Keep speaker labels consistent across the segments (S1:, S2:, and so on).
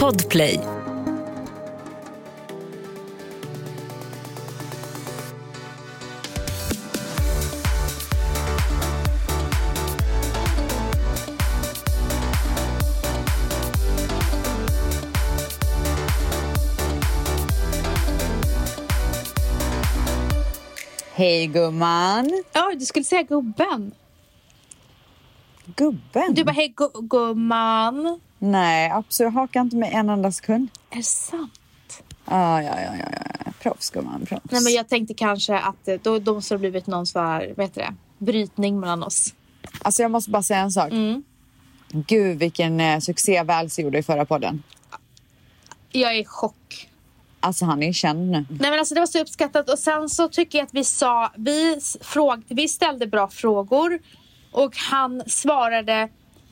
S1: Podplay. Hej gumman.
S2: Ja, du skulle säga gubben.
S1: Gubben?
S2: Du bara, hej gu- gumman.
S1: Nej, absolut. Jag hakar inte med en enda sekund.
S2: Är det sant?
S1: Ah, ja, ja, ja, ja. Proffs gumman, proffs.
S2: Nej, men jag tänkte kanske att eh, då, då måste det blivit någon så här, vad heter det, brytning mellan oss.
S1: Alltså jag måste bara säga en sak.
S2: Mm.
S1: Gud vilken eh, succé Väls gjorde i förra podden.
S2: Jag är i chock.
S1: Alltså han är ju känd nu.
S2: Nej, men alltså, det var så uppskattat. Och sen så tycker jag att vi sa... Vi, s- fråg, vi ställde bra frågor och han svarade...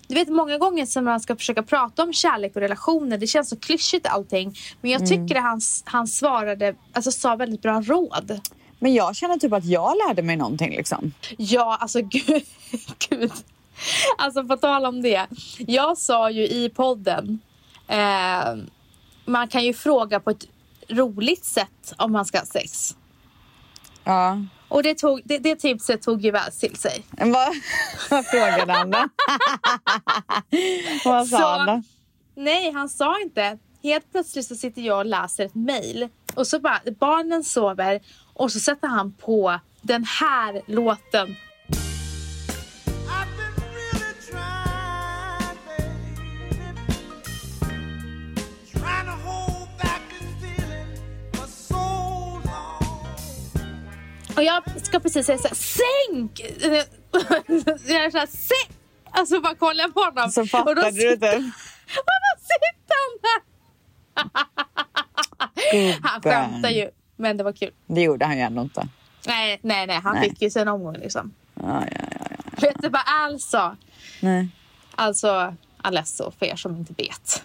S2: Du vet många gånger som man ska försöka prata om kärlek och relationer, det känns så klyschigt allting. Men jag tycker att han, s- han svarade, alltså sa väldigt bra råd.
S1: Men jag känner typ att jag lärde mig någonting liksom.
S2: Ja, alltså gud. gud. Alltså på tal om det. Jag sa ju i podden, eh, man kan ju fråga på ett roligt sätt om man ska ha sex.
S1: Ja.
S2: Och det, tog, det, det tipset tog ju väl till sig.
S1: Men Vad, vad frågade han då? vad sa
S2: Så-
S1: han då?
S2: Nej, han sa inte. Helt plötsligt så sitter jag och läser ett mejl och så bara, barnen sover och så sätter han på den här låten.
S3: I've been really trying, baby. Trying to hold back this feeling for so long.
S2: Och jag ska precis säga så här, sänk! Jag är så här, sänk! Alltså bara kollar jag på honom.
S1: Så
S2: och då
S1: fattade du
S2: sitter-
S1: typ.
S2: Och då sitter han där! Han
S1: Gubben.
S2: skämtar ju, men det var kul.
S1: Det gjorde han ju ändå inte.
S2: Nej, nej, nej, han
S1: Nej.
S2: fick ju sin omgång liksom.
S1: Ja, ja, ja.
S2: Vet du vad Al sa?
S1: Nej.
S2: Alltså, Alesso, för er som inte vet.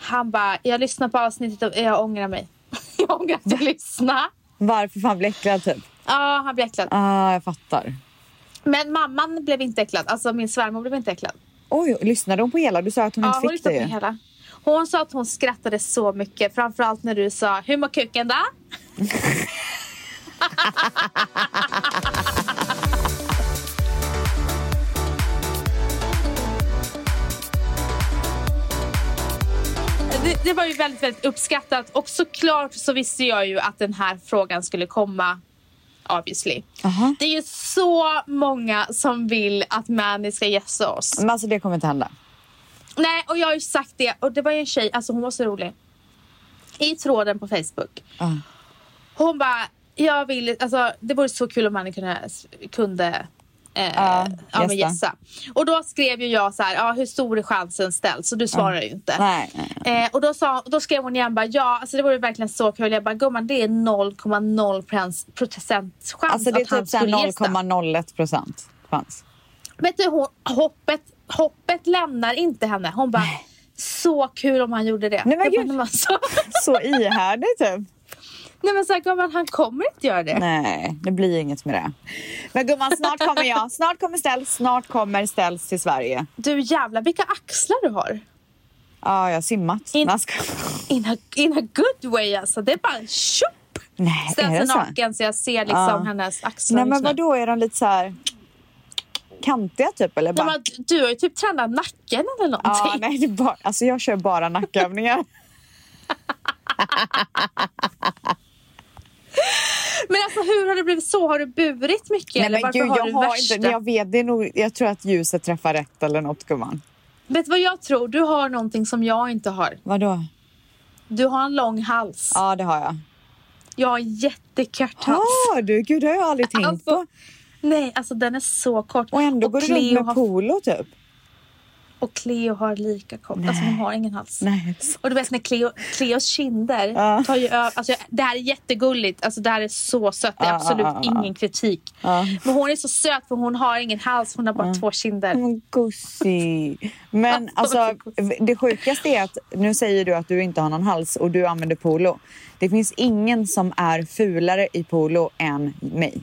S2: Han bara, jag lyssnar på avsnittet och jag ångrar mig. Jag ångrar att jag lyssnade.
S1: Varför fan blir äcklad typ?
S2: Ja, han blev äcklad.
S1: Ah, jag fattar.
S2: Men mamman blev inte äcklad. Alltså min svärmor blev inte äcklad.
S1: Oj, lyssnade hon på hela? Du sa att hon
S2: Ja,
S1: inte
S2: hon
S1: fick
S2: lyssnade
S1: det
S2: på
S1: ju.
S2: hela. Hon sa att hon skrattade så mycket. Framförallt när du sa, hur mår kuken då? Det, det var ju väldigt, väldigt uppskattat och såklart så visste jag ju att den här frågan skulle komma obviously.
S1: Aha.
S2: Det är ju så många som vill att Mani ska gästa oss.
S1: Men alltså det kommer inte hända.
S2: Nej, och jag har ju sagt det. Och det var ju en tjej, alltså hon var så rolig. I tråden på Facebook.
S1: Ah.
S2: Hon bara, jag vill, alltså det vore så kul om han kunde, kunde eh, ja, men
S1: gästa.
S2: gästa. Och då skrev ju jag så här, ja hur stor är chansen ställd? Så du svarar ju inte.
S1: Nej, nej,
S2: Eh, och då, sa, då skrev hon igen bara, ja alltså det vore verkligen så kul. Jag bara, gumman det är 0,0 procent chans
S1: Alltså det är
S2: att han
S1: typ så här
S2: skulle gästa.
S1: 0,01 procent chans.
S2: Vet du, hon, hoppet, hoppet lämnar inte henne. Hon bara, så kul om han gjorde det.
S1: Nej, men
S2: Jag bara,
S1: gud.
S2: men alltså,
S1: Så ihärdig typ.
S2: nej men så här, gumman, han kommer inte göra det.
S1: Nej, det blir inget med det. Men gumman, snart kommer jag. Snart kommer ställs. Snart kommer ställs till Sverige.
S2: Du jävlar vilka axlar du har.
S1: Ja, jag har simmat.
S2: In-
S1: Nej, jag ska-
S2: In a, in a good way alltså. Det är bara tjopp!
S1: Nej, är det
S2: Ställs
S1: så?
S2: naken så jag ser liksom
S1: Ja.
S2: hennes axlar.
S1: Nej, men
S2: just nu.
S1: vadå? Är de lite så här kantiga typ? Eller
S2: Nej,
S1: bara...
S2: men, du har typ- ju typ tränat nacken
S1: Ja,
S2: eller någonting.
S1: nej, det är bara... alltså, jag kör bara nackövningar.
S2: men alltså hur har det blivit så? Har du burit mycket? eller varför har du
S1: jag har
S2: värsta?
S1: inte... Nej, Jag vet, det är nog... Jag tror att ljuset träffar rätt eller något, gumman.
S2: Vet du vad jag tror? Du har någonting som jag inte har.
S1: Vadå?
S2: Du har en lång hals.
S1: Ja, det har jag.
S2: Jag har en jättekort hals.
S1: Har du? Gud, det har jag aldrig tänkt på.
S2: Alltså, nej, alltså den är så kort.
S1: Och ändå går du runt
S2: Cleo
S1: med
S2: har,
S1: polo typ.
S2: Och Cleo har lika kort. Alltså hon har ingen hals.
S1: Nej.
S2: Och du vet när Cleo, Cleos kinder
S1: Ja.
S2: tar ju över. Alltså, det här är jättegulligt. Alltså, det här är så sött. Det är
S1: Ja,
S2: absolut
S1: ja, ja, ja.
S2: ingen kritik.
S1: Ja.
S2: Men hon är så söt för hon har ingen hals. Hon har bara två kinder.
S1: Men gussig. Men
S2: Alltså,
S1: alltså, det sjukaste är att nu säger du att du inte har någon hals och du använder polo. Det finns ingen som är fulare i polo än mig.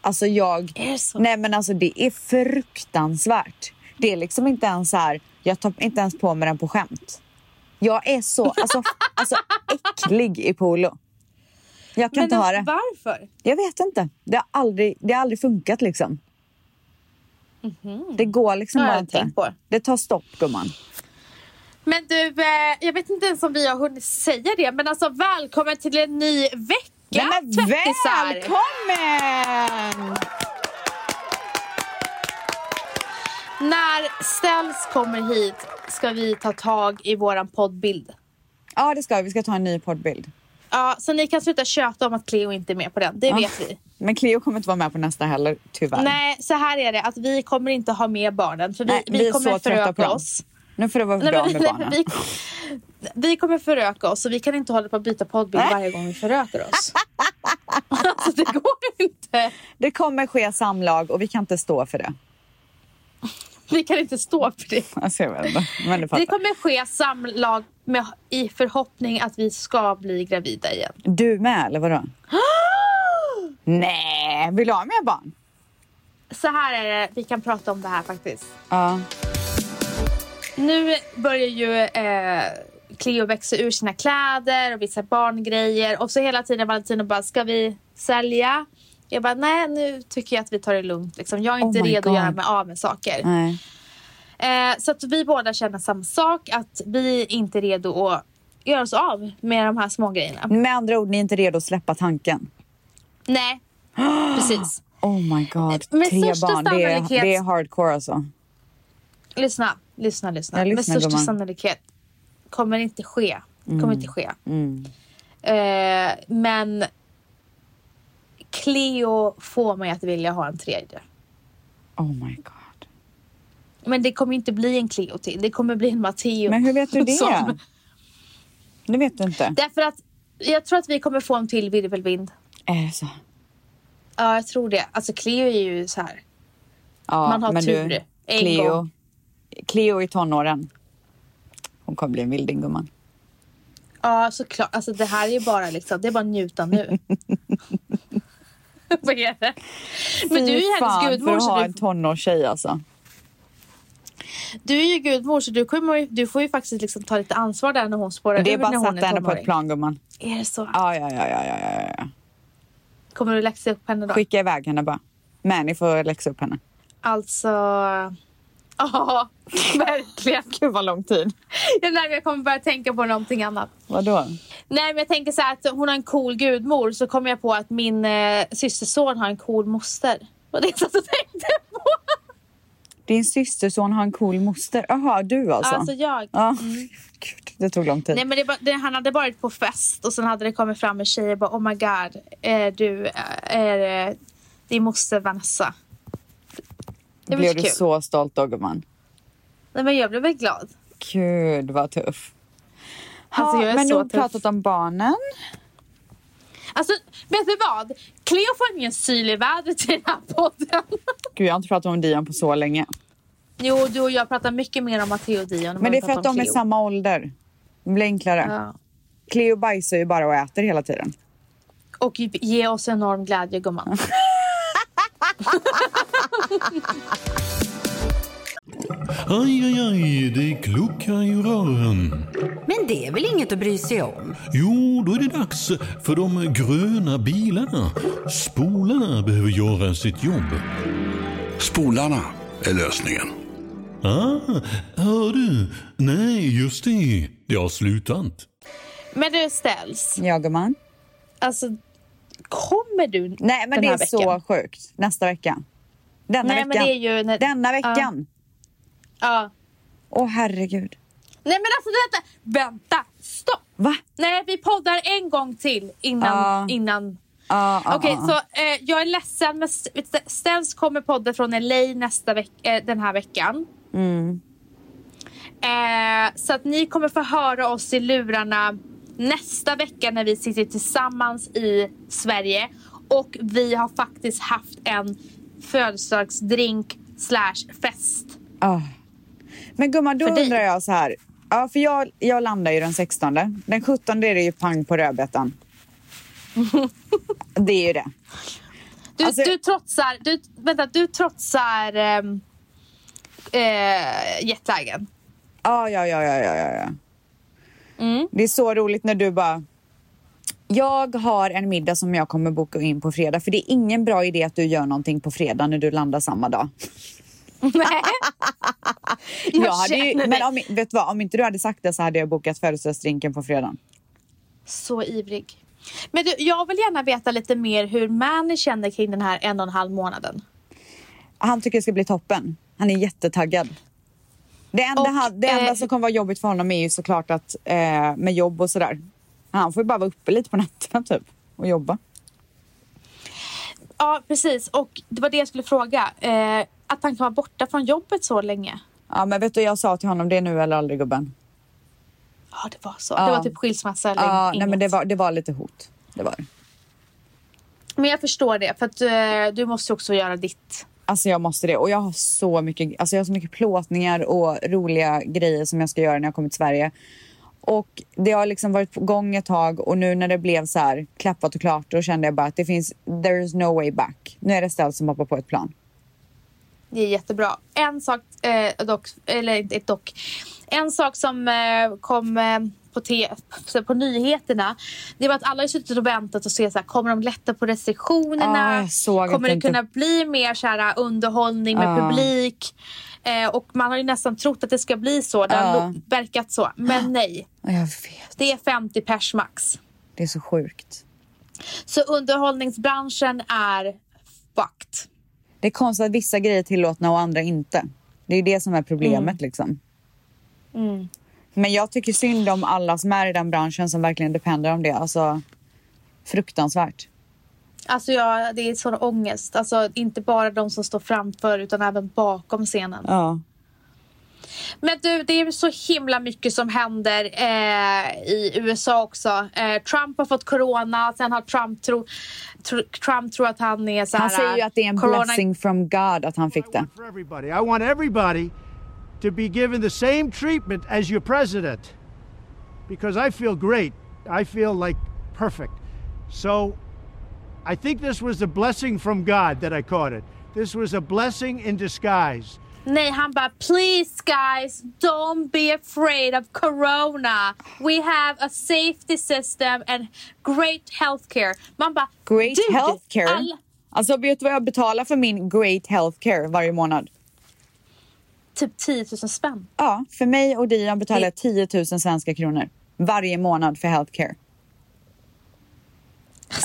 S1: Alltså jag...
S2: Är det så?
S1: Nej men alltså det är fruktansvärt. Det är liksom inte ens så här, jag tar inte ens på mig den på skämt. Jag är så alltså, f- alltså, äcklig i polo. Jag kan
S2: Men
S1: inte ha det.
S2: varför?
S1: Jag vet inte. Det har aldrig, det har aldrig funkat liksom. Det går
S2: Det
S1: liksom
S2: Mhm. har
S1: bara
S2: jag inte
S1: inte.
S2: tänkt på.
S1: Det tar stopp gumman.
S2: Men du, eh, jag vet inte ens om vi har hunnit säga det, men alltså välkommen till en ny vecka,
S1: Nej, men
S2: tvättisar!
S1: välkommen!
S2: När Ställs kommer hit ska vi ta tag i våran poddbild.
S1: Ja, det ska vi. Vi ska ta en ny poddbild.
S2: Ja, så ni kan sluta köta om att Cleo inte är med på den, det
S1: Ja.
S2: vet vi.
S1: Men Cleo kommer inte vara med på nästa heller, tyvärr.
S2: Nej, så här är det, att vi kommer inte ha med barnen för vi,
S1: Nej,
S2: vi,
S1: vi är
S2: kommer
S1: så trötta på
S2: föröka
S1: dem.
S2: oss.
S1: Nu får det vara
S2: Nej,
S1: bra
S2: men-
S1: med barnen.
S2: Vi, vi kommer föröka oss och vi kan inte hålla på att byta poddbild
S1: Nej.
S2: varje gång vi förökar oss. alltså det går inte.
S1: Det kommer ske samlag och vi kan inte stå för det.
S2: Vi kan inte stå för det.
S1: Alltså, jag vet inte. Men du
S2: Det
S1: fattar.
S2: kommer ske samlag med, i förhoppning att vi ska bli gravida igen.
S1: Du med, eller vadå? Nej, vill du ha mer barn?
S2: Så här är det, vi kan prata om det här faktiskt.
S1: Ja.
S2: Nu börjar ju eh, Cleo växa ur sina kläder och vissa barngrejer. Och så hela tiden Valentino bara, ska vi sälja? Jag bara, nej nu tycker jag att vi tar det lugnt. Liksom. Jag är
S1: Oh
S2: inte
S1: my
S2: redo
S1: God. Mm.
S2: att göra mig av med saker.
S1: Nej.
S2: Eh, så att vi båda känner samma sak, att vi är inte är redo att göra oss av med de här små grejerna.
S1: Med andra ord, ni är inte redo att släppa tanken.
S2: Nej, precis.
S1: Oh my god,
S2: Med
S1: tre
S2: största
S1: barn. Det är,
S2: sannolikhet-
S1: det är hardcore alltså.
S2: Lyssna, lyssna, lyssna.
S1: Jag
S2: Med
S1: lyssnar,
S2: största
S1: gumman.
S2: sannolikhet kommer det inte ske. Kommer inte ske.
S1: Mm.
S2: Eh, men Cleo får mig att vilja ha en tredje.
S1: Oh my god.
S2: Men det kommer inte bli en Cleo till. Det kommer bli en Matteo.
S1: Men hur vet du det?
S2: Som-
S1: Det vet du inte.
S2: Därför att jag tror att vi kommer få en till virvelvind.
S1: Är det så?
S2: Ja, jag tror det. Alltså Cleo är ju så här.
S1: Ja,
S2: Man har
S1: men
S2: tur
S1: Du,
S2: en
S1: Cleo,
S2: gång.
S1: Cleo i tonåren. Hon kommer bli en vilding, gumman.
S2: Ja, såklart. Alltså det här är ju bara liksom, det är bara njuta nu. Vad är det? Men du är ju
S1: Fy fan,
S2: hennes
S1: för
S2: gudmor
S1: att ha
S2: så
S1: en
S2: du,
S1: tonårstjej alltså.
S2: du är ju gudmor så du, kommer, ju- du får ju faktiskt liksom ta lite ansvar där när hon spårar
S1: Det är
S2: ur
S1: bara
S2: när
S1: att
S2: hon
S1: sätta
S2: är
S1: henne på ett
S2: tonåring.
S1: plan, gumman.
S2: Är det så?
S1: Ja, ja, ja, ja, ja, ja, ja,
S2: Kommer du läxa upp henne då?
S1: ja. Skicka iväg henne bara. Men ni får läxa upp henne.
S2: Alltså... Ja, verkligen.
S1: Gud, vad lång tid.
S2: Jag, nej, men jag kommer börja tänka på någonting annat.
S1: Vadå?
S2: Nej, men jag tänker så här att hon har en cool gudmor så kommer jag på att min eh, systerson har en cool moster. Och det satt och tänkte på.
S1: Din systerson har en cool moster. Jaha, du alltså?
S2: Alltså jag.
S1: Ja. Gud, det tog lång tid.
S2: Nej, men det, var- det, han hade varit på fest och sen hade det kommit fram en tjej och bara oh my god, är du, är eh, din moster Vanessa? Det var
S1: Blev
S2: så
S1: du
S2: kul.
S1: så stolt då, gumman?
S2: Nej, men jag blev väl glad.
S1: Gud, vad tuff. Ha,
S2: Alltså, jag är
S1: men
S2: så
S1: nog
S2: tuff.
S1: pratat om barnen.
S2: Alltså, vet du vad? Cleo får ingen syl i vädret i den här podden.
S1: Gud, jag har inte pratat om Dion på så länge.
S2: Jo, du och jag pratar mycket mer om Matteo och Dion. än
S1: Men
S2: vad
S1: det
S2: vi
S1: är för
S2: pratar
S1: att de
S2: om
S1: är
S2: Cleo.
S1: samma ålder. Det blir enklare.
S2: Ja.
S1: Cleo bajsar ju bara och äter hela tiden.
S2: Och ge oss enorm glädje, gumman.
S4: Aj, aj, aj, det kluckar i rören.
S5: Men det är väl inget att bry sig om?
S4: Jo, då är det dags för de gröna bilarna. Spolarna behöver göra sitt jobb.
S6: Spolarna är lösningen.
S4: Ah, hör du? Nej, just det. Det har slutat.
S2: Men du, Ställs.
S1: Ja, gumman.
S2: Alltså, kommer du
S1: Nej, men
S2: den
S1: det är
S2: här
S1: så
S2: veckan?
S1: sjukt. Nästa vecka. Denna
S2: Nej,
S1: veckan.
S2: men det är ju... När...
S1: Denna veckan.
S2: Ja.
S1: Åh, herregud.
S2: Nej, men alltså, vänta! Vänta! Stopp!
S1: Va?
S2: Nej, vi poddar en gång till innan...
S1: Ja.
S2: innan.
S1: Ja, ja,
S2: Okej,
S1: ja.
S2: så eh, jag är ledsen, men St- Ställs kommer podda från LA nästa veck- eh, den här veckan.
S1: Mm.
S2: Eh, så att ni kommer få höra oss i lurarna nästa vecka när vi sitter tillsammans i Sverige. Och vi har faktiskt haft en födelsedagsdrink slash fest.
S1: Ah. Men gumman, då
S2: För dig.
S1: undrar jag så här. Ja, för jag, jag landar ju den 16. Den 17 är det ju pang på rödbetan. det är ju det.
S2: Du,
S1: Alltså-
S2: du trotsar, du, vänta, du trotsar ehm, eh, jetlagen.
S1: Ja, ja, ja, ja, ja, ja, ja.
S2: Mm.
S1: Det är så roligt när du bara... Jag har en middag som jag kommer boka in på fredag. För det är ingen bra idé att du gör någonting på fredag när du landar samma dag.
S2: Nej.
S1: Jag hade ju,
S2: känner dig.
S1: men om, vet du vad, om inte du hade sagt det så hade jag bokat födelsedagsdrinken på fredagen.
S2: Så ivrig. Men du, jag vill gärna veta lite mer hur Mani känner kring den här en och en halv månaden.
S1: Han tycker det ska bli toppen. Han är jättetaggad. Det enda,
S2: Och,
S1: han, det enda
S2: eh,
S1: som kommer vara jobbigt för honom är ju såklart att eh, med jobb och sådär. Han får ju bara vara uppe lite på natten typ och jobba.
S2: Ja, precis. Och det var det jag skulle fråga. Eh, att han kan vara borta från jobbet så länge.
S1: Ja men vet du, jag sa till honom det är nu eller aldrig gubben.
S2: Ja, det var så.
S1: Ja.
S2: Det var typ skilsmässa eller
S1: Ja,
S2: inget.
S1: nej men det var, det var lite hot. Det var det.
S2: Men jag förstår det, för att eh, du måste ju också göra ditt.
S1: Alltså jag måste det. Och jag har så mycket, alltså jag har så mycket plåtningar och roliga grejer som jag ska göra när jag kommer till Sverige. Och det har liksom varit på gång ett tag och nu när det blev så här klappat och klart då kände jag bara att det finns, there is no way back. Nu är det ställt som hoppar på ett plan.
S2: Det är jättebra. En sak eh, dock, eller inte dock. En sak som eh, kom eh, på, te, på nyheterna det var att alla har suttit och väntat och se så här, kommer de lätta på
S1: Ja,
S2: restriktionerna.
S1: jag såg att
S2: kommer
S1: det
S2: det
S1: inte-
S2: kunna bli mer så här, eh, underhållning med
S1: Ja.
S2: publik? Eh, och man har ju nästan trott att det ska bli så. Det har
S1: Ja.
S2: lo- verkat så. Men nej,
S1: Och jag vet,
S2: det är 50 pers max.
S1: det är så sjukt.
S2: Så underhållningsbranschen är fucked.
S1: Det är konstigt att vissa grejer är tillåtna och andra inte. Det är ju det som är problemet liksom. Men jag tycker synd om alla som är i den branschen som verkligen depender om det. Alltså fruktansvärt.
S2: Alltså jag, det är sån ångest. Alltså inte bara de som står framför utan även bakom scenen.
S1: Ja.
S2: Men du, det är ju så himla mycket som händer eh, i USA också. Eh, Trump har fått corona, sen har Trump, tro, tro, Trump tror att han är så här...
S1: Han säger ju att det är en
S2: corona-
S1: blessing from God att han fick
S7: I
S1: det.
S7: want for everybody. I want everybody to be given the same treatment as your president because I feel great. I feel like perfect. So I think this was a blessing from God that I caught it. This was a blessing in disguise.
S2: Nej, han bara “Please guys, don't be afraid of corona. We have a safety system and great healthcare”. Man bara...
S1: Great
S2: "Dude,
S1: healthcare.
S2: alla-
S1: Alltså vet du vad jag betalar för min great healthcare varje månad?
S2: typ 10 000 spänn.
S1: Ja, för mig och Dion betalar jag 10 000 svenska kronor varje månad för healthcare.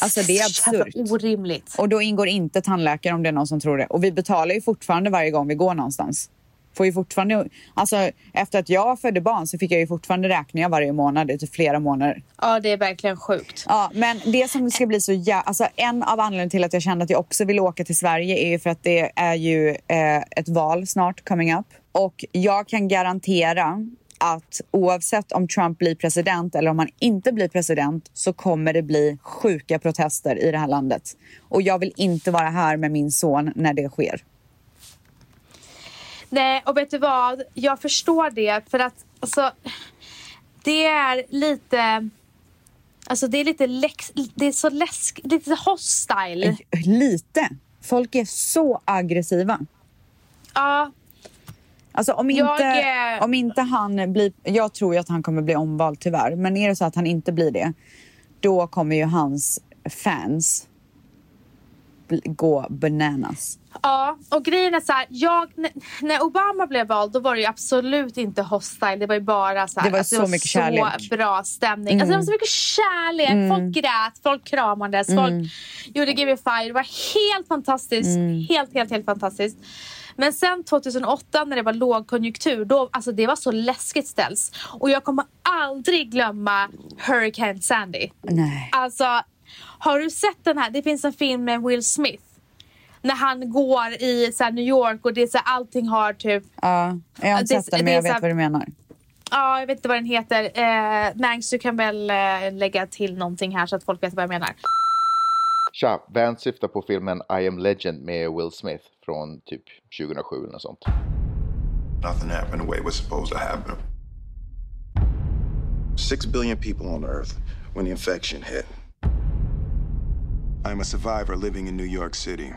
S1: Alltså det är
S2: Jävla
S1: absurt.
S2: orimligt.
S1: Och då ingår inte tandläkare om det är någon som tror det. Och vi betalar ju fortfarande varje gång vi går någonstans. Får ju fortfarande, alltså efter att jag födde barn så fick jag ju fortfarande räkningar varje månad i typ flera månader.
S2: Ja, det är verkligen sjukt.
S1: Ja, men det som ska bli så jä... alltså, En av anledningarna till att jag kände att jag också vill åka till Sverige är ju för att det är ju eh, ett val snart coming up. Och jag kan garantera att oavsett om Trump blir president eller om han inte blir president så kommer det bli sjuka protester i det här landet. Och jag vill inte vara här med min son när det sker.
S2: Nej, och vet du vad? Jag förstår det för att alltså, det är lite... Alltså det är lite läx, det är så läsk, lite hostile.
S1: Lite. Folk är så aggressiva.
S2: Ja,
S1: Alltså om
S2: Jag,
S1: inte,
S2: eh,
S1: om inte han blir... Jag tror ju att han kommer bli omvald tyvärr. Men är det så att han inte blir det, då kommer ju hans fans bli- gå bananas.
S2: ja, och grejen är så här, jag, n- när Obama blev vald då var det ju absolut inte hostile. Det var ju bara så här,
S1: Det var så
S2: det
S1: mycket
S2: så
S1: kärlek. Mm.
S2: bra stämning. Alltså det var så mycket kärlek. Folk grät, folk kramades, folk gjorde give fire. Det var helt fantastiskt.
S1: Mm.
S2: Helt, helt, helt fantastiskt. Men sen 2008 när det var lågkonjunktur, då, alltså det var så läskigt ställs. Och jag kommer aldrig glömma Hurricane Sandy.
S1: Nej.
S2: Alltså, har du sett den här? Det finns en film med Will Smith. När han går i så här, New York och det är så här, allting har typ...
S1: Ja, jag har inte
S2: Det-
S1: sett den,
S2: det
S1: men
S2: är
S1: jag
S2: så här-
S1: vet vad du menar.
S2: Ja, jag vet inte vad den heter. Eh, Mangs, du kan väl eh, lägga till någonting här så att folk vet vad jag menar.
S8: Tja, Vance syftar på filmen I am legend med Will Smith från typ 2007 eller något sånt.
S9: Nothing happened the way it was supposed to happen. Six billion people on Earth when the infection hit. I'm a survivor living in New York City.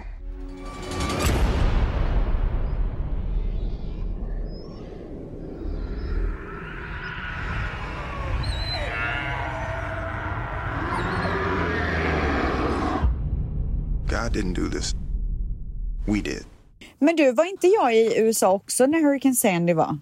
S9: didn't do this. We did.
S1: Men du, var inte jag i USA också när Hurricane Sandy var?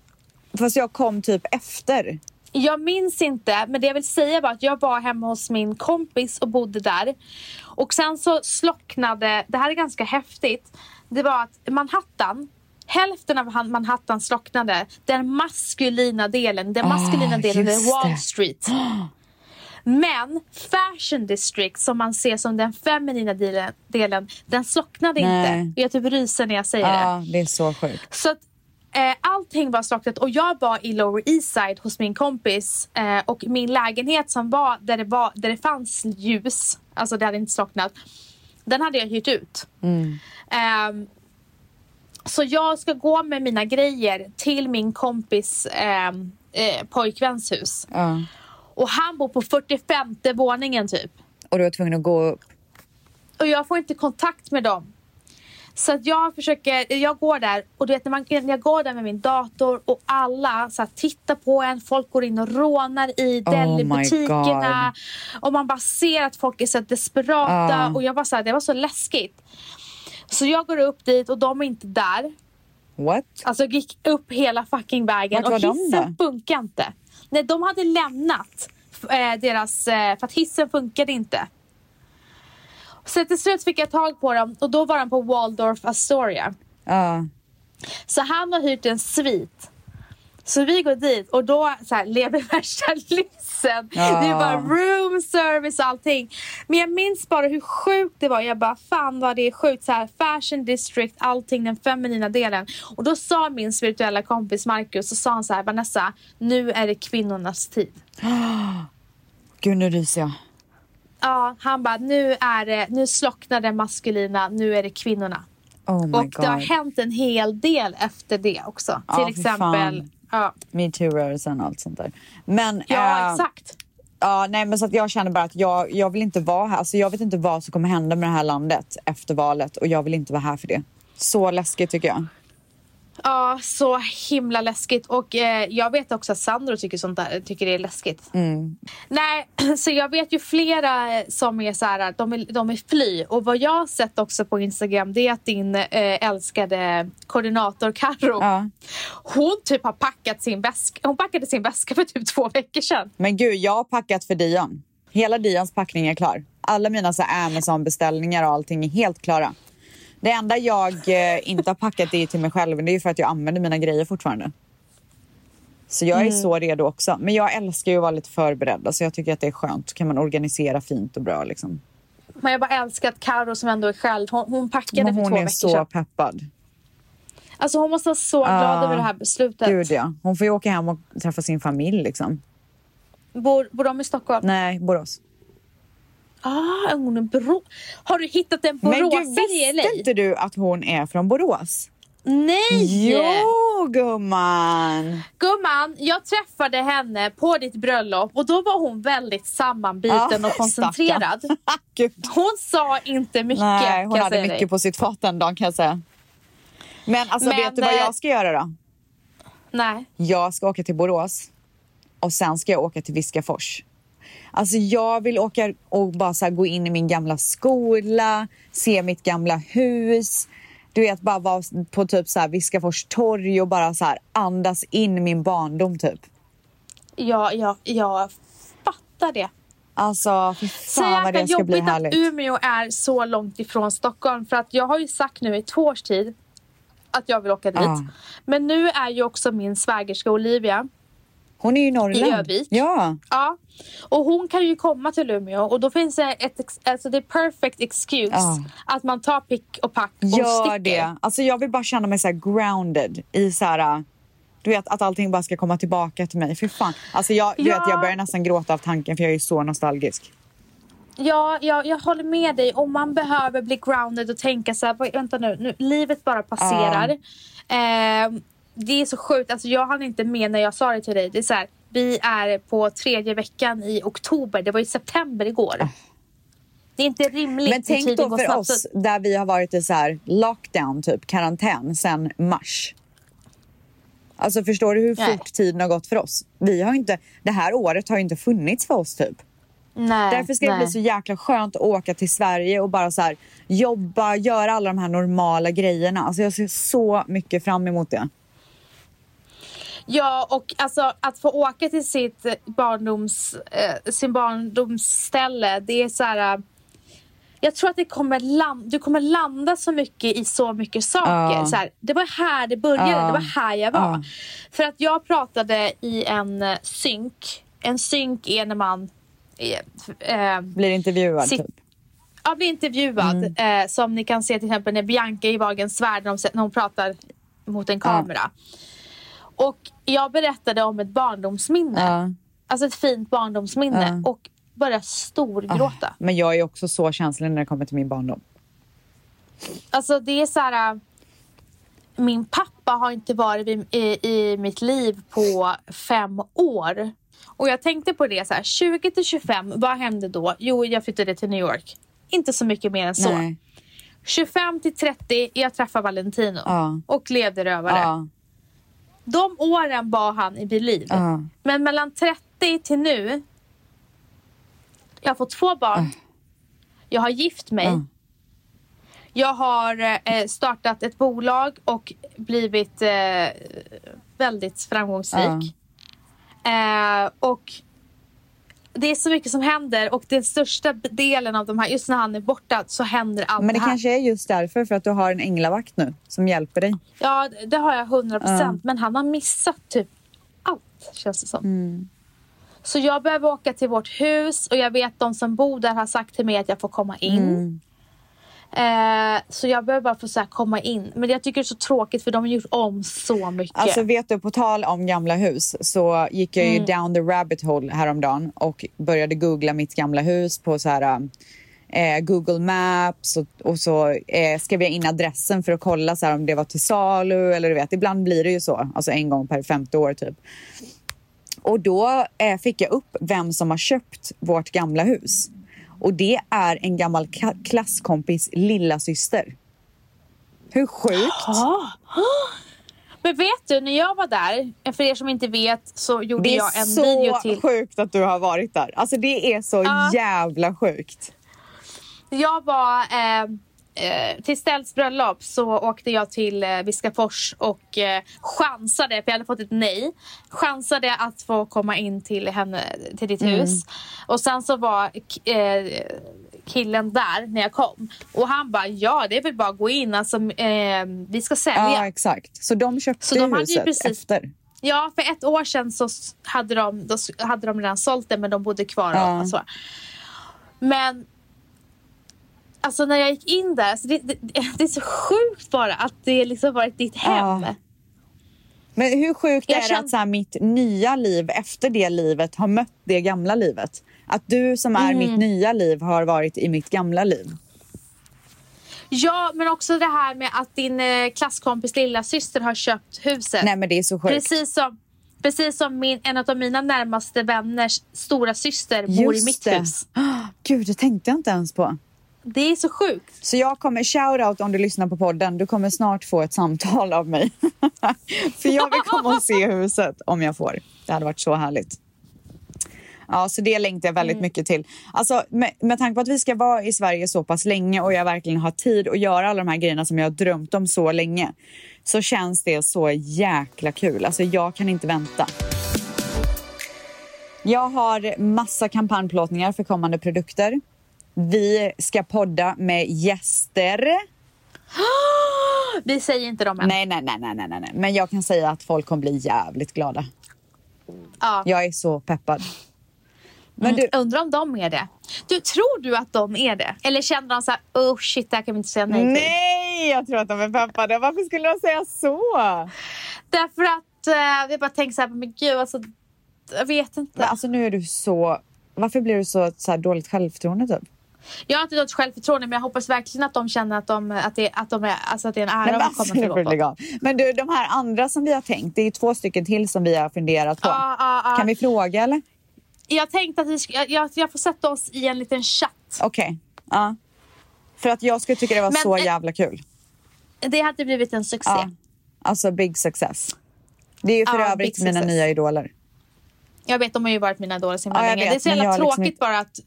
S1: Fast jag kom typ efter.
S2: Jag minns inte, men det jag vill säga var att jag var hemma hos min kompis och bodde där. Och sen så slocknade, det här är ganska häftigt, det var att Manhattan, hälften av han- Manhattan slocknade. Den maskulina delen, den maskulina
S1: Ah,
S2: delen
S1: just
S2: är Wall
S1: det.
S2: Street. Men fashion district som man ser som den feminina delen, delen den slocknade
S1: Nej.
S2: inte. Jag typ ryser när jag säger det.
S1: Ja, det är så sjukt.
S2: Så att, eh, allting var slocknat och jag var i Lower East Side hos min kompis eh, och min lägenhet som var där det, var, där det fanns ljus, alltså det hade inte slocknat, den hade jag hyrt ut. Ehm, så jag ska gå med mina grejer till min kompis ehm, eh, pojkväns hus.
S1: Ja.
S2: Och han bor på 45 våningen typ.
S1: Och du var tvungen att gå upp.
S2: Och jag får inte kontakt med dem. Så att jag försöker, jag går där och du vet när, man, när jag går där med min dator och alla så här, tittar på en, folk går in och rånar i
S1: Oh
S2: Delhi-butikerna. Och man bara ser att folk är så här desperata
S1: Ah.
S2: och jag bara så här, det var så läskigt. Så jag går upp dit och de är inte där.
S1: What?
S2: Alltså jag gick upp hela fucking vägen
S1: Vart var
S2: och
S1: de
S2: hissen
S1: då?
S2: funkar inte. Nej, de hade lämnat f- eh, deras, eh, för att hissen funkade inte. Så till slut fick jag tag på dem och då var de på Waldorf Astoria.
S1: Ja.
S2: Så han har hyrt en svit. Så vi går dit och då så här, lever värsta lyxen.
S1: Ja.
S2: Det är bara room service och allting. Men jag minns bara hur sjukt det var. Jag bara, fan vad det är sjukt. Så här, fashion district, allting, den feminina delen. Och då sa min spirituella kompis Marcus, så sa han så här, Vanessa, nu är det kvinnornas tid.
S1: Gud, nu ryser jag.
S2: Ja, han bara, nu, är det, nu slocknar det maskulina, nu är det kvinnorna.
S1: Oh my
S2: och
S1: god.
S2: det har hänt en hel del efter det också.
S1: Ja,
S2: Till
S1: fy fan.
S2: exempel, ja,
S1: Metoo-rörelsen och allt sånt där. Men,
S2: ja
S1: eh,
S2: exakt.
S1: Ja, nej, men så att jag känner bara att jag, jag vill inte vara här. Alltså, jag vet inte vad som kommer hända med det här landet efter valet och jag vill inte vara här för det. Så läskigt tycker jag.
S2: Ja, så himla läskigt. Och eh, jag vet också att Sandro tycker, sånt där, tycker det är läskigt.
S1: Mm.
S2: Nej, så jag vet ju flera eh, som är så här, de är, de är fly. Och vad jag har sett också på Instagram det är att din eh, älskade koordinator Karo
S1: Ja.
S2: hon typ har packat sin väska. Hon packade sin väska för typ två veckor sedan.
S1: Men gud, jag har packat för Dion. Hela Dions packning är klar. Alla mina så här Amazon-beställningar och allting är helt klara. Det enda jag eh, inte har packat det är till mig själv, men det är ju för att jag använder mina grejer fortfarande. Så jag är
S2: Mm.
S1: så redo också. Men jag älskar ju att vara lite förberedd. Alltså jag tycker att det är skönt. Kan man organisera fint och bra liksom.
S2: Men jag bara älskar att Karo som ändå är själv, hon, hon packade
S1: Men
S2: för
S1: hon
S2: två
S1: är
S2: veckor
S1: så
S2: sedan.
S1: peppad.
S2: Alltså hon måste vara så glad
S1: Ja.
S2: över det här beslutet.
S1: Gud ja. Hon får ju åka hem och träffa sin familj liksom.
S2: Bor, bor de i Stockholm?
S1: Nej, Borås.
S2: Ah, hon är bro... Har du hittat en
S1: Men
S2: boråsare
S1: gud,
S2: i LA?
S1: visste inte du att hon är från Borås?
S2: Nej!
S1: Jo, gumman!
S2: Gumman, jag träffade henne på ditt bröllop och då var hon väldigt sammanbiten
S1: Ja,
S2: och koncentrerad.
S1: stackarn. Gud.
S2: Hon sa inte mycket.
S1: Nej,
S2: kan
S1: hon
S2: jag
S1: hade
S2: säga
S1: mycket
S2: dig.
S1: på sitt fat den dagen kan jag säga. Men alltså,
S2: Men,
S1: vet du vad
S2: eh,
S1: jag ska göra då?
S2: Nej.
S1: Jag ska åka till Borås och sen ska jag åka till Viskafors. Alltså jag vill åka och bara så här gå in i min gamla skola, se mitt gamla hus. Du vet, bara vara på typ så här Viskafors torg och bara så här andas in min barndom typ.
S2: Ja, ja, jag fattar det.
S1: Alltså, fy
S2: Så
S1: fan vad
S2: jäkla
S1: det ska bli
S2: jobbigt att
S1: härligt.
S2: Umeå är så långt ifrån Stockholm. För att jag har ju sagt nu i två års tid att jag vill åka dit.
S1: Ja.
S2: Men nu är ju också min svägerska Olivia
S1: Hon är ju i Norrland.
S2: I Ö-vik.
S1: Ja.
S2: Ja, och hon kan ju komma till Umeå och då finns det ett ex- alltså det är perfect excuse
S1: Ja.
S2: att man tar pick och pack och sticker.
S1: Gör det. Alltså jag vill bara känna mig så här grounded i så här, du vet att allting bara ska komma tillbaka till mig. Fy fan. Alltså jag, du
S2: Ja.
S1: vet, jag börjar nästan gråta av tanken för jag är så nostalgisk.
S2: Ja, ja, jag håller med dig. Och man behöver bli grounded och tänka så här, "Vad- vänta nu, nu livet bara passerar. Ehm, det är så sjukt, alltså jag hann inte med när jag sa det till dig. Det är så här, vi är på tredje veckan i oktober. Det var ju september igår. Det är inte rimligt.
S1: Ah. Men
S2: hur
S1: tänk
S2: tiden
S1: då
S2: går
S1: för
S2: snabbt.
S1: oss där vi har varit i så här lockdown, typ karantän, sen mars. Alltså förstår du hur
S2: Nej.
S1: fort tiden har gått för oss? Vi har inte, det här året har ju inte funnits för oss typ.
S2: Nej,
S1: Därför ska
S2: nej.
S1: det bli så jäkla skönt att åka till Sverige och bara så här, jobba, göra alla de här normala grejerna. Alltså jag ser så mycket fram emot det.
S2: Ja, och alltså, att få åka till sitt eh, barndoms, eh, sin barndomsställe, det är så här... eh, Jag tror att det kommer land, du kommer landa så mycket i så mycket saker.
S1: Ja.
S2: Så här, det var här det började,
S1: Ja.
S2: det var här jag var.
S1: Ja.
S2: För att jag pratade i en eh, synk. En synk är när man... eh, Eh,
S1: Blir intervjuad
S2: Sitt-
S1: typ.
S2: jag blir intervjuad,
S1: Mm.
S2: eh, som ni kan se till exempel när Bianca i Vagens värld, när hon, när hon pratar mot en kamera. Och jag berättade om ett barndomsminne,
S1: Ja.
S2: alltså ett fint barndomsminne och började storgråta.
S1: Men jag är också så känslig när det kommer till min barndom.
S2: Alltså det är så här... äh, Min pappa har inte varit i, i, i mitt liv på fem år. Och jag tänkte på det så här, 20 till 25, vad hände då? Jo, jag flyttade till New York. Inte så mycket mer än så.
S1: Nej.
S2: 25 till 30, jag träffade Valentino
S1: Ja.
S2: och levde rövare.
S1: Ja.
S2: De åren var han i Berlin.
S1: Ja.
S2: Men mellan 30 till nu, jag har fått två barn. Jag har gift mig.
S1: Ja.
S2: Jag har eh, startat ett bolag och blivit eh, väldigt framgångsrik. Eh, och det är så mycket som händer och den största delen av de här, just när han är borta så händer allt
S1: Men
S2: det
S1: det
S2: här.
S1: kanske är just därför, för att du har en änglavakt nu som hjälper dig.
S2: Ja, det har jag 100 procent. Men han har missat typ allt, känns det som.
S1: Mm.
S2: Så jag behöver åka till vårt hus och jag vet de som bor där har sagt till mig att jag får komma
S1: Mm.
S2: in. Eh, så jag behöver bara få så här komma in. Men jag tycker det är så tråkigt för de har gjort om så mycket.
S1: Alltså vet du, på tal om gamla hus så gick jag ju down the rabbit hole häromdagen och började googla mitt gamla hus på så här eh, Google Maps och, och så eh, skrev jag in adressen för att kolla så här, om det var till salu eller du vet, ibland blir det ju så, alltså en gång per femte år typ. Och då eh, fick jag upp vem som har köpt vårt gamla hus. Och det är en gammal ka- klasskompis lilla syster. Hur sjukt?
S2: Men vet du, när jag var där, för er som inte vet så gjorde
S1: Det är
S2: jag en
S1: så
S2: video till.
S1: sjukt att du har varit där. Alltså det är så
S2: Ja.
S1: jävla sjukt.
S2: Jag var... Eh, eh, till Stells bröllop så åkte jag till eh, Viskafors och eh, chansade, för jag hade fått ett nej, chansade att få komma in till, henne, till ditt hus. Och sen så var k- eh, killen där när jag kom och han bara ja, det är väl bara att gå in, alltså, eh, vi ska sälja.
S1: Ja, exakt. Så de köpte
S2: Så de hade ju
S1: huset
S2: precis-
S1: efter.
S2: Ja, för ett år sedan så s- hade de, då s- hade de redan sålt det, men de bodde kvar.
S1: Ja.
S2: Och så. Men alltså när jag gick in där, så det, det, det är så sjukt bara att det liksom varit ditt hem.
S1: Ja. Men hur sjukt
S2: Jag
S1: är det
S2: kände-
S1: att så här, mitt nya liv efter det livet har mött det gamla livet? Att du som är
S2: Mm.
S1: mitt nya liv har varit i mitt gamla liv.
S2: Ja, men också det här med att din eh, klasskompis lilla syster har köpt huset.
S1: Nej men det är så sjukt.
S2: precis som, precis som min, en av mina närmaste vänners stora syster bor i
S1: Just
S2: mitt
S1: det.
S2: hus.
S1: Gud, det tänkte jag inte ens på.
S2: Det är så sjukt.
S1: Så jag kommer, shoutout om du lyssnar på podden, du kommer snart få ett samtal av mig. För jag vill komma och se huset om jag får. Det hade varit så härligt. Ja, så det längtar jag väldigt mycket till. Alltså, med, med tanke på att vi ska vara i Sverige så pass länge och jag verkligen har tid att göra alla de här grejerna som jag har drömt om så länge så känns det så jäkla kul. Alltså, jag kan inte vänta. Jag har massa kampanjplåtningar för kommande produkter. Vi ska podda med gäster.
S2: Vi säger inte dem än.
S1: Nej, nej, nej, nej, nej, nej, nej. Men jag kan säga att folk kommer bli jävligt glada.
S2: Ja.
S1: Jag är så peppad. Men du,
S2: Mm, Undrar om de är det. Du, tror du att de är det? Eller känner de så här, oh shit, det här kan vi inte säga nej till.
S1: nej, jag tror att de är peppade. Varför skulle de säga så?
S2: Därför att eh, vi bara tänker så här, men gud alltså, jag vet inte.
S1: Men alltså nu är du så... Varför blir du så, så här dåligt självförtroende typ?
S2: Jag har inte något självförtroende, men jag hoppas verkligen att de känner att, de, att, det, att, de är, alltså, att det är en ära
S1: Men,
S2: att
S1: alltså,
S2: komma till
S1: nu får
S2: vår
S1: du lägga
S2: podd.
S1: av. men du, de här andra som vi har tänkt, det är ju två stycken till som vi har funderat på.
S2: Ja, ja, ja.
S1: Kan vi fråga eller?
S2: Jag tänkte att vi sk- jag, jag, jag får sätta oss i en liten chatt.
S1: Okej. Ja. För att jag skulle tycka det var
S2: Men-
S1: så jävla kul.
S2: Det hade blivit en succé.
S1: Ja. Alltså big success. Det är ju för
S2: Ja,
S1: övrigt
S2: big
S1: mina
S2: success.
S1: nya idoler.
S2: Jag vet, de har ju varit mina idoler så himla
S1: Ja, jag
S2: länge.
S1: vet,
S2: det är
S1: men
S2: så
S1: jag
S2: jävla
S1: har liksom
S2: tråkigt
S1: inte-
S2: bara att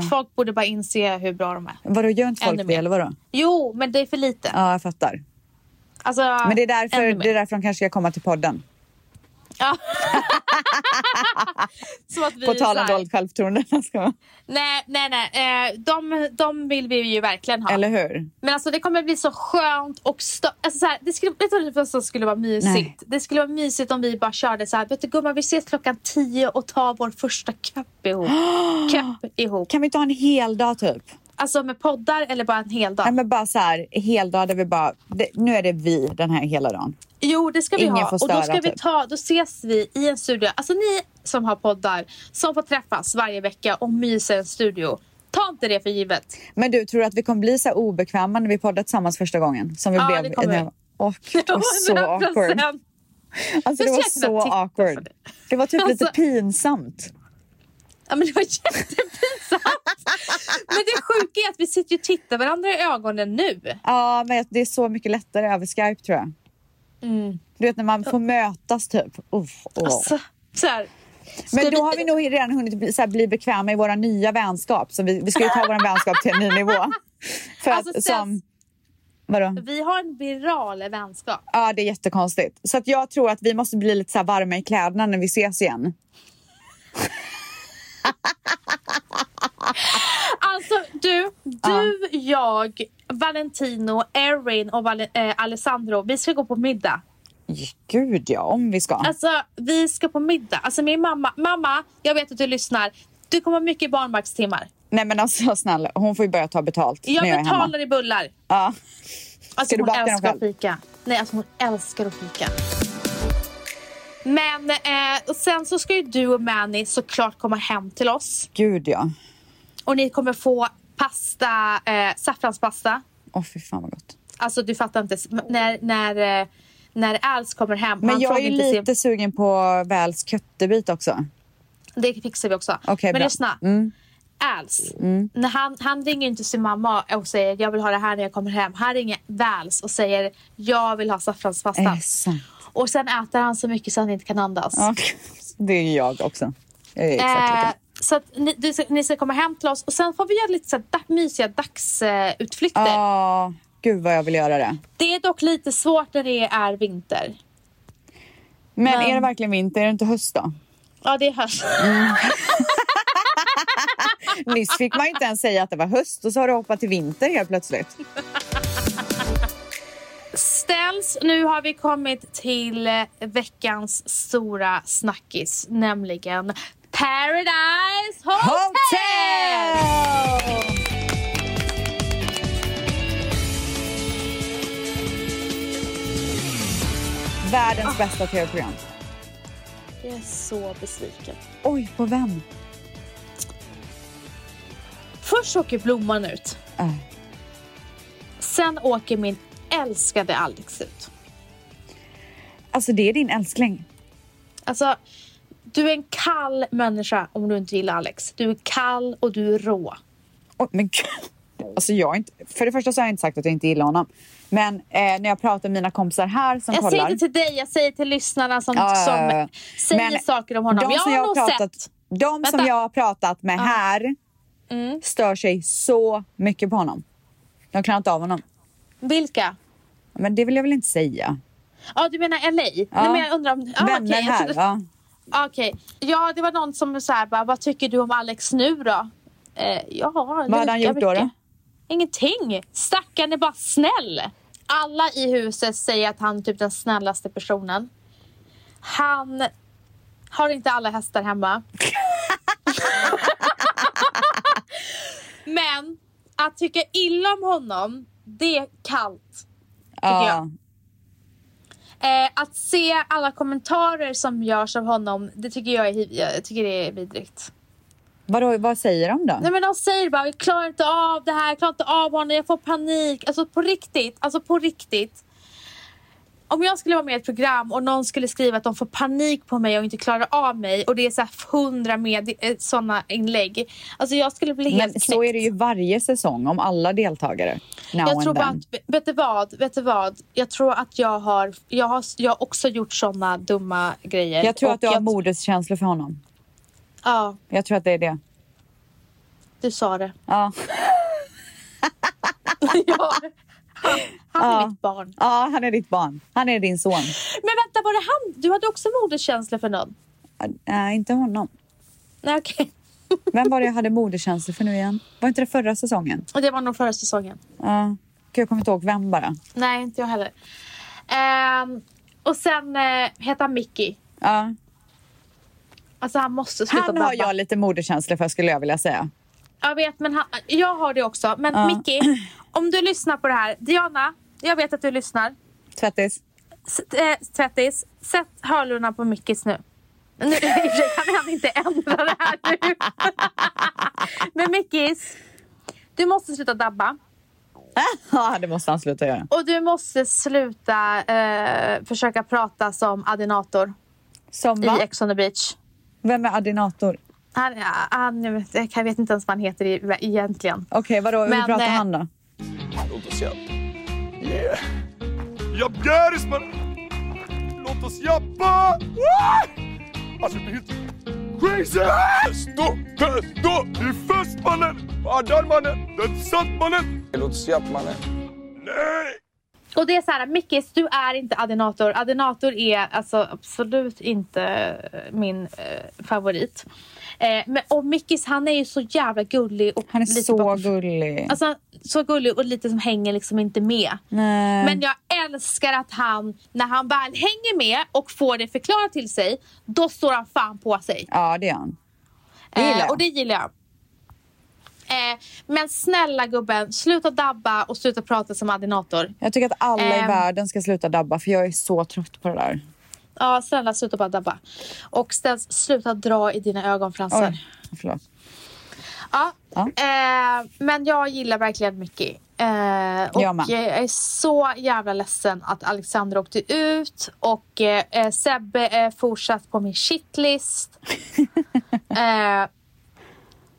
S1: Vadå?
S2: folk borde bara inse hur bra de är.
S1: Vadå, gör inte folk
S2: Ännu
S1: det
S2: mer.
S1: eller vadå?
S2: Jo, men det är för lite.
S1: Ja, jag fattar.
S2: Alltså,
S1: Men det är, därför,
S2: ännu mer.
S1: det är därför de kanske ska komma till podden.
S2: Ja. Så att vi
S1: På
S2: är
S1: tal om
S2: så här-
S1: dåligt självförtroende. Ska-
S2: Nej, nej, nej. Eh, de, de vill vi ju verkligen ha.
S1: Eller hur?
S2: Men alltså det kommer bli så skönt och stö- alltså, så här, det skulle, Vet du vad som skulle vara mysigt?
S1: Nej.
S2: Det skulle vara mysigt om vi bara körde så här. Vet du gumman, vi ses klockan tio och tar vår första cup ihop. cup ihop.
S1: Kan vi inte ha en hel dag typ?
S2: Alltså med poddar eller bara en hel dag?
S1: Nej, men bara så här, hel dag där vi bara, det, nu är det vi den här hela dagen.
S2: Jo, det ska vi
S1: Ingen
S2: ha.
S1: får
S2: Och
S1: störa,
S2: då ska vi
S1: typ.
S2: ta, då ses vi i en studio. Alltså ni som har poddar som får träffas varje vecka och mysa i en studio. Ta inte det för givet.
S1: Men du, tror du att vi kommer bli så här obekväma när vi poddar tillsammans första gången? Som vi
S2: Ja,
S1: blev.
S2: det kommer vi.
S1: Åh, gud, det var så awkward.
S2: 100%.
S1: Alltså, det
S2: Hur
S1: var
S2: ska jag
S1: så
S2: kunna titta på
S1: awkward.
S2: det?
S1: Det var typ lite
S2: Alltså-
S1: pinsamt.
S2: Ja, men det var jättepinsamt. men det sjuka är att vi sitter ju och tittar varandra i ögonen nu.
S1: Ja, men det är så mycket lättare över Skype tror jag. Du vet när man får mötas typ. Uff, åh.
S2: Mm. Alltså, så här.
S1: Men
S2: Ska
S1: då har vi nog redan hunnit bli, så här, bli bekväma i våra nya vänskap. Så vi, vi ska ju ta vår vänskap till en ny nivå. För
S2: Alltså,
S1: att
S2: ses-
S1: som... Vadå?
S2: Vi har en viral vänskap.
S1: Ja, det är jättekonstigt. Så att jag tror att vi måste bli lite så här varma i kläderna när vi ses igen.
S2: Alltså du, du, jag, Valentino, Erin och Val- eh, Alessandro, vi ska gå på middag.
S1: Gud ja, om vi ska.
S2: Alltså vi ska på middag. Alltså min mamma, mamma, jag vet att du lyssnar. Du kommer ha mycket barnvaktstimmar.
S1: Nej men alltså snälla, hon får ju börja ta betalt
S2: Jag
S1: när jag är hemma.
S2: betalar i bullar.
S1: Ja.
S2: Alltså
S1: du
S2: hon
S1: baka dem
S2: älskar att
S1: själv?
S2: fika. Nej, alltså hon älskar att fika. Men eh, och sen så ska ju du och Manny såklart komma hem till oss.
S1: Gud ja.
S2: Och ni kommer få pasta, eh, saffranspasta.
S1: Åh fy fan vad gott.
S2: Alltså du fattar inte. S- m- När, när, eh, när Als kommer hem.
S1: Men
S2: han
S1: jag är
S2: frågar
S1: ju
S2: inte
S1: lite sugen på Väls köttebit också.
S2: Det fixar vi också.
S1: Okej,
S2: Men
S1: bra. Mm.
S2: lyssna. Als, när han, han ringer inte sin mamma och säger jag vill ha det här när jag kommer hem. Han ringer Vals och säger jag vill ha saffranspasta.
S1: Är det sant?
S2: Och sen äter han så mycket så han inte kan andas.
S1: Ja, det är ju jag också. Jag är exakt
S2: Eh,
S1: likadan.
S2: så att ni, du, ska- ni ska komma hem till oss och sen får vi göra lite så här dag, mysiga dagsutflykter.
S1: Ja, gud vad jag vill göra det.
S2: Det är dock lite svårt när det är vinter.
S1: Men, är det verkligen vinter? Är det inte höst då?
S2: Ja, det är höst.
S1: Nyss fick man ju inte ens säga att det var höst och så har det hoppat till vinter helt plötsligt.
S2: Ställs, nu har vi kommit till eh, veckans stora snackis, nämligen Paradise Hotel!
S1: Hotel! Världens bästa tv-program.
S2: Jag är så besviken.
S1: Oj, på vem?
S2: Först åker Blomman ut.
S1: Äh.
S2: Sen åker min älskade Alex ut.
S1: Alltså det är din älskling.
S2: Alltså, du är en kall människa om du inte gillar Alex. Du är kall och du är rå.
S1: Oj, men gud. Alltså jag har inte, för det första så har jag inte sagt att jag inte gillar honom. Men eh, när jag pratar med mina kompisar här som
S2: Jag
S1: kollar.
S2: säger det till dig, jag säger till lyssnarna som,
S1: Ja, ja,
S2: som
S1: ja, ja.
S2: typ säger
S1: Men
S2: saker om honom.
S1: de
S2: jag
S1: som
S2: har nog
S1: har pratat,
S2: sett.
S1: De som
S2: Vänta. Mm.
S1: jag har pratat med här stör sig så mycket på honom. De klarar inte av honom.
S2: Vilka?
S1: Men det vill jag väl inte säga.
S2: Ja, du menar LA? Nej, men jag undrar om... Ja,
S1: Vänner
S2: Ah, okej, jag
S1: här.
S2: trodde-
S1: Ja.
S2: Ja, Okej. Ja, det var någon som så här, bara, vad tycker du om Alex nu då? Eh, ja,
S1: Vad hade han gjort då, då?
S2: Ingenting. Stackaren är bara snäll. Alla i huset säger att han är typ den snällaste personen. Han har inte alla hästar hemma. Men att tycka illa om honom, det är kallt.
S1: Ja.
S2: jag. Eh, att se alla kommentarer som görs av honom, det tycker jag är, hiv- jag tycker det är vidrigt.
S1: Vadå, vad säger de då?
S2: Nej men de säger bara, jag klarar inte av det här, jag klarar inte av honom, jag får panik. Alltså på riktigt, alltså på riktigt. Om jag skulle vara med i ett program och någon skulle skriva att de får panik på mig och inte klarar av mig och det är så här hundra med sådana inlägg. Alltså jag skulle bli helt
S1: Men så
S2: knäckt.
S1: är det ju varje säsong om alla deltagare. Now
S2: Jag tror
S1: and
S2: bara
S1: then.
S2: att, vet du vad, vet du vad? Jag tror att jag har, jag har, jag har också gjort sådana dumma grejer.
S1: Jag tror
S2: Och
S1: att du har moderskänslor för honom.
S2: Ja,
S1: Jag tror att det är det.
S2: du sa det.
S1: Ja,
S2: ja. Han, han är
S1: Ja.
S2: mitt barn.
S1: ja han är ditt barn. Han är din son.
S2: Men vänta, var det han? Du hade också moderkänsla för någon?
S1: Äh, inte honom.
S2: Nej, okej.
S1: Vem var det jag hade moderkänsla för nu igen? Var inte det förra säsongen?
S2: Och Det var nog förra säsongen.
S1: Ja. Gud, jag kommer inte ihåg vem bara.
S2: Nej, inte jag heller. Ehm, och sen eh, heter han Mickey.
S1: Ja.
S2: Alltså han måste sluta
S1: Han har
S2: babba.
S1: jag lite moderkänsla för skulle jag vilja säga.
S2: Jag vet, men han, jag har det också. Men
S1: Ja.
S2: Mickey, om du lyssnar på det här. Diana, jag vet att du lyssnar.
S1: Tvättis.
S2: S- eh, tvättis, sätt hörlurarna på Mickis nu. Nu i och för sig kan han inte ändra det här nu. Men Mickis, du måste sluta dabba.
S1: Ja, det måste han sluta göra.
S2: Och du måste sluta eh, försöka prata som adinator
S1: Som
S2: i
S1: va?
S2: Ex on the beach.
S1: Vem är adinator?
S2: Han, han, jag vet inte ens vad han heter e- egentligen.
S1: Okej, vadå? Hur
S2: Men,
S1: pratar
S2: eh,
S1: han då?
S9: Låt oss jabba. Yeah. Jabb Garris, man. Låt oss jabba. Woo! Alltså, det blir helt crazy. Stå, stå, stå. Det är fest, mannen. Adar, mannen. Den satt, mannen. Låt oss jabba, mannen. Nej!
S2: Och det är så här, Mickis, du är inte adinator. Adinator är alltså absolut inte eh, min eh, favorit. Eh, men, och Mickis, han är ju så jävla gullig. Och
S1: Han är
S2: lite
S1: så
S2: bakom-
S1: gullig.
S2: Alltså, så gullig och lite som hänger liksom inte med.
S1: Nej.
S2: Men jag älskar att han, när han väl hänger med och får det förklarat till sig, då står han fan på sig.
S1: Ja, det är han. Det gillar jag.
S2: och det gillar jag. Eh, men snälla gubben, sluta dabba och sluta prata som adinator.
S1: Jag tycker att alla i
S2: Ehm.
S1: världen ska sluta dabba för jag är så trött på det där.
S2: Ja, snälla sluta bara dabba. Och ställ, sluta dra i dina ögonfransar.
S1: Oj, förlåt.
S2: Ja.
S1: Ja.
S2: Eh, men jag gillar verkligen Mickey. Eh, och
S1: Jag med.
S2: jag är så jävla ledsen att Alexander åkte ut och eh, eh, Sebbe är fortsatt på min shitlist. eh,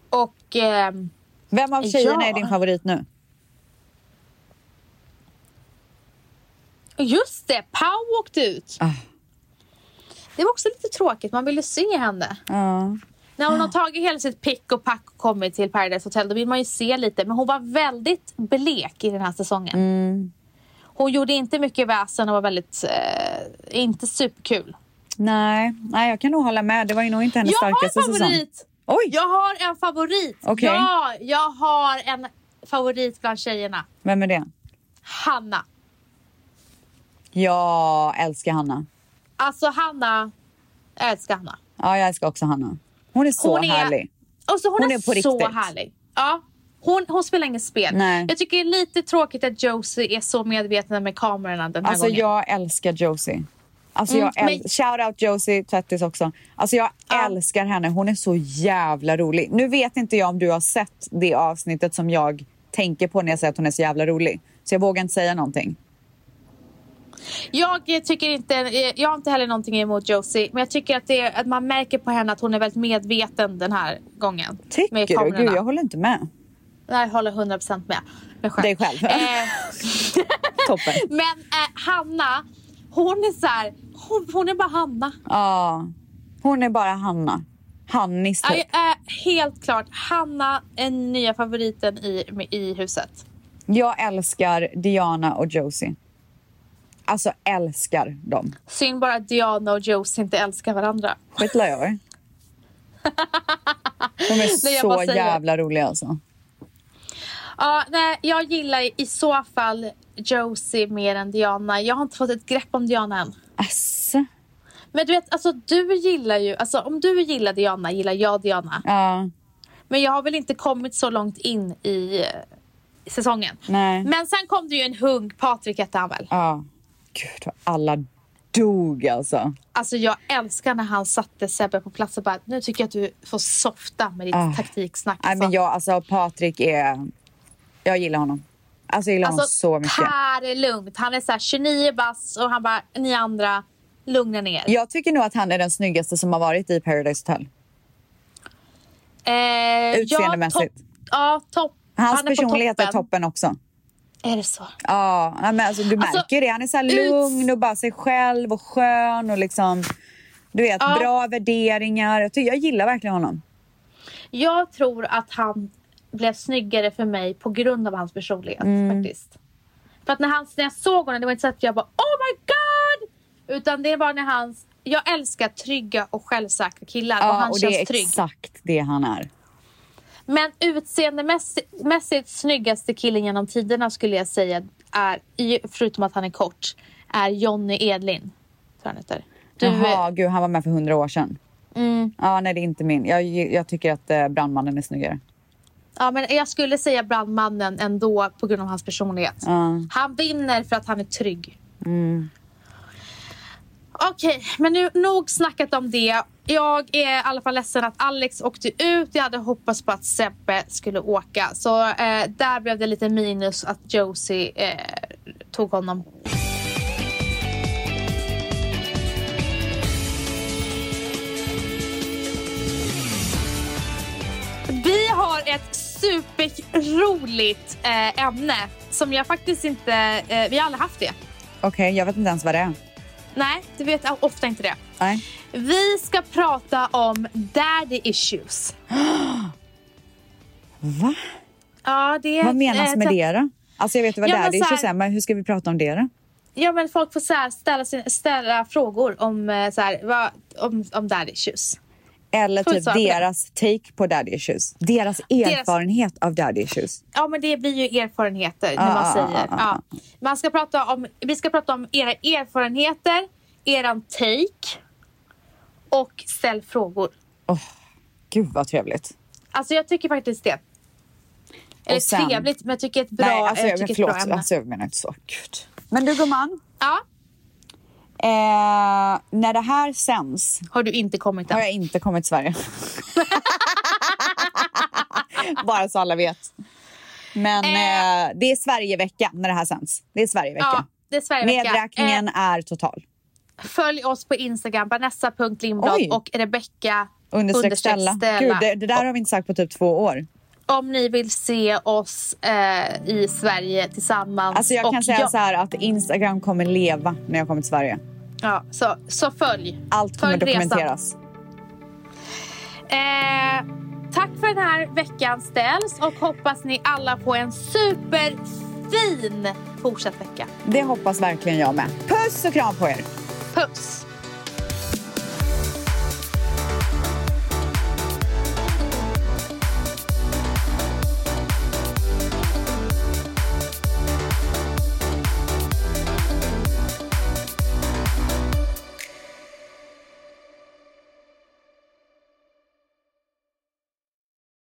S2: och ehm,
S1: Vem av tjejerna
S2: Ja.
S1: är din favorit nu?
S2: just det, Pau åkte ut.
S1: Ah.
S2: Det var också lite tråkigt, man ville se henne.
S1: Ja.
S2: När hon har tagit hela sitt pick och pack och kommit till Paradise Hotel då vill man ju se lite. Men hon var väldigt blek i den här säsongen.
S1: Mm.
S2: Hon gjorde inte mycket väsen och var väldigt, eh, inte superkul.
S1: Nej. Nej, jag kan nog hålla med. Det var ju nog inte hennes
S2: Jag har en
S1: starkaste säsong.
S2: favorit!
S1: Oj,
S2: Jag har en favorit!
S1: Okej.
S2: Ja, jag har en favorit bland tjejerna.
S1: vem är det?
S2: Hanna.
S1: Jag älskar Hanna.
S2: Alltså Hanna, jag älskar Hanna.
S1: Ja, jag älskar också Hanna. Hon är så
S2: Hon är-
S1: härlig.
S2: Alltså, hon,
S1: Hon
S2: är,
S1: är på
S2: så
S1: riktigt.
S2: härlig. Ja. Hon, hon spelar inget spel.
S1: Nej.
S2: Jag tycker det är lite tråkigt att Josie är så medveten med kamerorna den här
S1: Alltså
S2: gången.
S1: jag älskar Josie. Alltså
S2: Mm,
S1: jag äl-
S2: men-
S1: Shout out Josie Tvättis också. Alltså jag
S2: Ja.
S1: älskar henne. Hon är så jävla rolig. Nu vet inte jag om du har sett det avsnittet som jag tänker på när jag säger att hon är så jävla rolig. Så jag vågar inte säga någonting.
S2: Jag eh, tycker inte, eh, jag har inte heller någonting emot Josie, men jag tycker att, det, är- att man märker på henne att hon är väldigt medveten den här gången. med
S1: Tycker du?
S2: kamerorna.
S1: Gud, jag håller inte med.
S2: Nej, jag håller 100% med. Mig själv.
S1: Dig själv.
S2: Eh,
S1: Toppen. Ja,
S2: men eh, Hanna, hon är så här, hon, hon är bara Hanna.
S1: hon är bara Hanna. Hannis typ.
S2: Jag är eh, helt klart, Hanna är nya favoriten i, i huset.
S1: Jag älskar Diana och Josie. Alltså älskar dem.
S2: Synd bara att Diana och Josie inte älskar varandra.
S1: Skitlar jag i. De är
S2: Nej, jag bara
S1: så
S2: säger.
S1: jävla roliga alltså.
S2: Ja, nej, jag gillar i- i så fall Josie mer än Diana. Jag har inte fått ett grepp om Diana än.
S1: Asså.
S2: Men du vet, alltså du gillar ju, alltså om du gillar Diana gillar jag Diana.
S1: Ja,
S2: Men jag har väl inte kommit så långt in i eh, säsongen.
S1: nej.
S2: Men sen kom det ju en hunk, Patrik hette han väl?
S1: Ja. Gud, vad alla dog alltså.
S2: Alltså jag älskar när han satte Sebbe på plats och bara, nu tycker jag att du får softa med ditt
S1: Ah.
S2: taktiksnack.
S1: Nej, men jag, alltså Patrik är... Jag gillar honom. Alltså jag gillar honom så mycket.
S2: ta det lugnt. Han är så här 29 bass och han bara, ni andra, lugna ner.
S1: Jag tycker nog att han är den snyggaste som har varit i Paradise Hotel.
S2: Eh,
S1: Utseendemässigt.
S2: Ja, topp- ja, topp.
S1: Hans
S2: Han är på
S1: personlighet är toppen också.
S2: Är det så?
S1: Ja, ja, men alltså, du
S2: Alltså,
S1: märker det. Han är så här
S2: ut-
S1: lugn och bara sig själv och skön och liksom... Du vet,
S2: Ja.
S1: bra värderingar. Jag, tycker, jag gillar verkligen honom.
S2: Jag tror att han blev snyggare för mig på grund av hans personlighet
S1: Mm.
S2: faktiskt. För att när, han, när jag såg honom, det var inte så att jag bara oh my god! Utan det var när hans, jag älskar trygga och självsäkra killar och
S1: Ja,
S2: han
S1: och det är
S2: känns trygg.
S1: exakt det han är.
S2: Men utseendemässigt snyggaste killen genom tiderna skulle jag säga är, i- förutom att han är kort, är Jonny Edlin. Tror han heter. Du, Mm.
S1: Jaha, gud, han var med för hundra år sedan. Ja, nej, det är inte min. Jag, jag tycker att eh, brandmannen är snyggare.
S2: Ja, men jag skulle säga brandmannen ändå på grund av hans personlighet.
S1: Ja.
S2: Han vinner för att han är trygg. Okej, men nu nog snackat om det. Jag är i alla fall ledsen att Alex åkte ut. Jag hade hoppats på att Sebbe skulle åka. Så eh, där blev det lite minus att Josie eh, tog honom. Vi har ett superroligt eh, ämne som jag faktiskt inte... Eh, vi har aldrig haft det.
S1: Okej, jag vet inte ens vad det är.
S2: Nej, du vet jag ofta inte det.
S1: Nej.
S2: Vi ska prata om daddy issues.
S1: Va?
S2: Ja, det är,
S1: Vad menas
S2: eh,
S1: med
S2: så-
S1: det då? Alltså jag vet ju vad
S2: Ja,
S1: det är,
S2: men
S1: det
S2: så här-
S1: är 25, men hur ska vi prata om det då?
S2: Ja, men folk får så här ställa, sin, ställa frågor om, eh, så här, vad, om, om daddy issues.
S1: Eller
S2: Fullt
S1: typ
S2: svar på det.
S1: deras take på daddy issues. Deras erfarenhet av daddy issues.
S2: Ja, men det blir ju erfarenheter när
S1: Ah,
S2: man
S1: ah,
S2: säger.
S1: ah,
S2: ja. Man ska prata om, vi ska prata om era erfarenheter, eran take och ställ frågor.
S1: Gud vad trevligt.
S2: Alltså jag tycker faktiskt det. Eller
S1: sen-
S2: trevligt, men jag tycker ett bra,
S1: Nej, alltså,
S2: jag
S1: jag,
S2: tycker ett
S1: förlåt,
S2: bra ämne.
S1: alltså jag menar inte så. Gud. Men du gumman,
S2: Ja,
S1: eh, när det här sänds
S2: har du inte kommit än.
S1: har jag inte kommit till Sverige. Bara så alla vet. Men
S2: Eh.
S1: eh, det är Sverigevecka när det här sänds. Det är Sverigevecka.
S2: Ja, det är Sverigevecka.
S1: Nedräkningen är total.
S2: Eh, följ oss på Instagram, Vanessa.lindblad
S1: Oj.
S2: och Rebecca
S1: Understreck Stella. Gud, det, det där har vi inte sagt på typ två år.
S2: Om ni vill se oss eh, i Sverige tillsammans.
S1: Alltså jag
S2: och
S1: kan säga
S2: jag-
S1: så här att Instagram kommer leva när jag kommer till Sverige.
S2: Ja, så, så följ.
S1: Allt kommer
S2: Följ resan.
S1: dokumenteras.
S2: Eh, tack för den här veckan ställs och hoppas ni alla får en superfin fortsatt vecka.
S1: Det hoppas verkligen jag med. Puss och kram på er!
S2: Puss!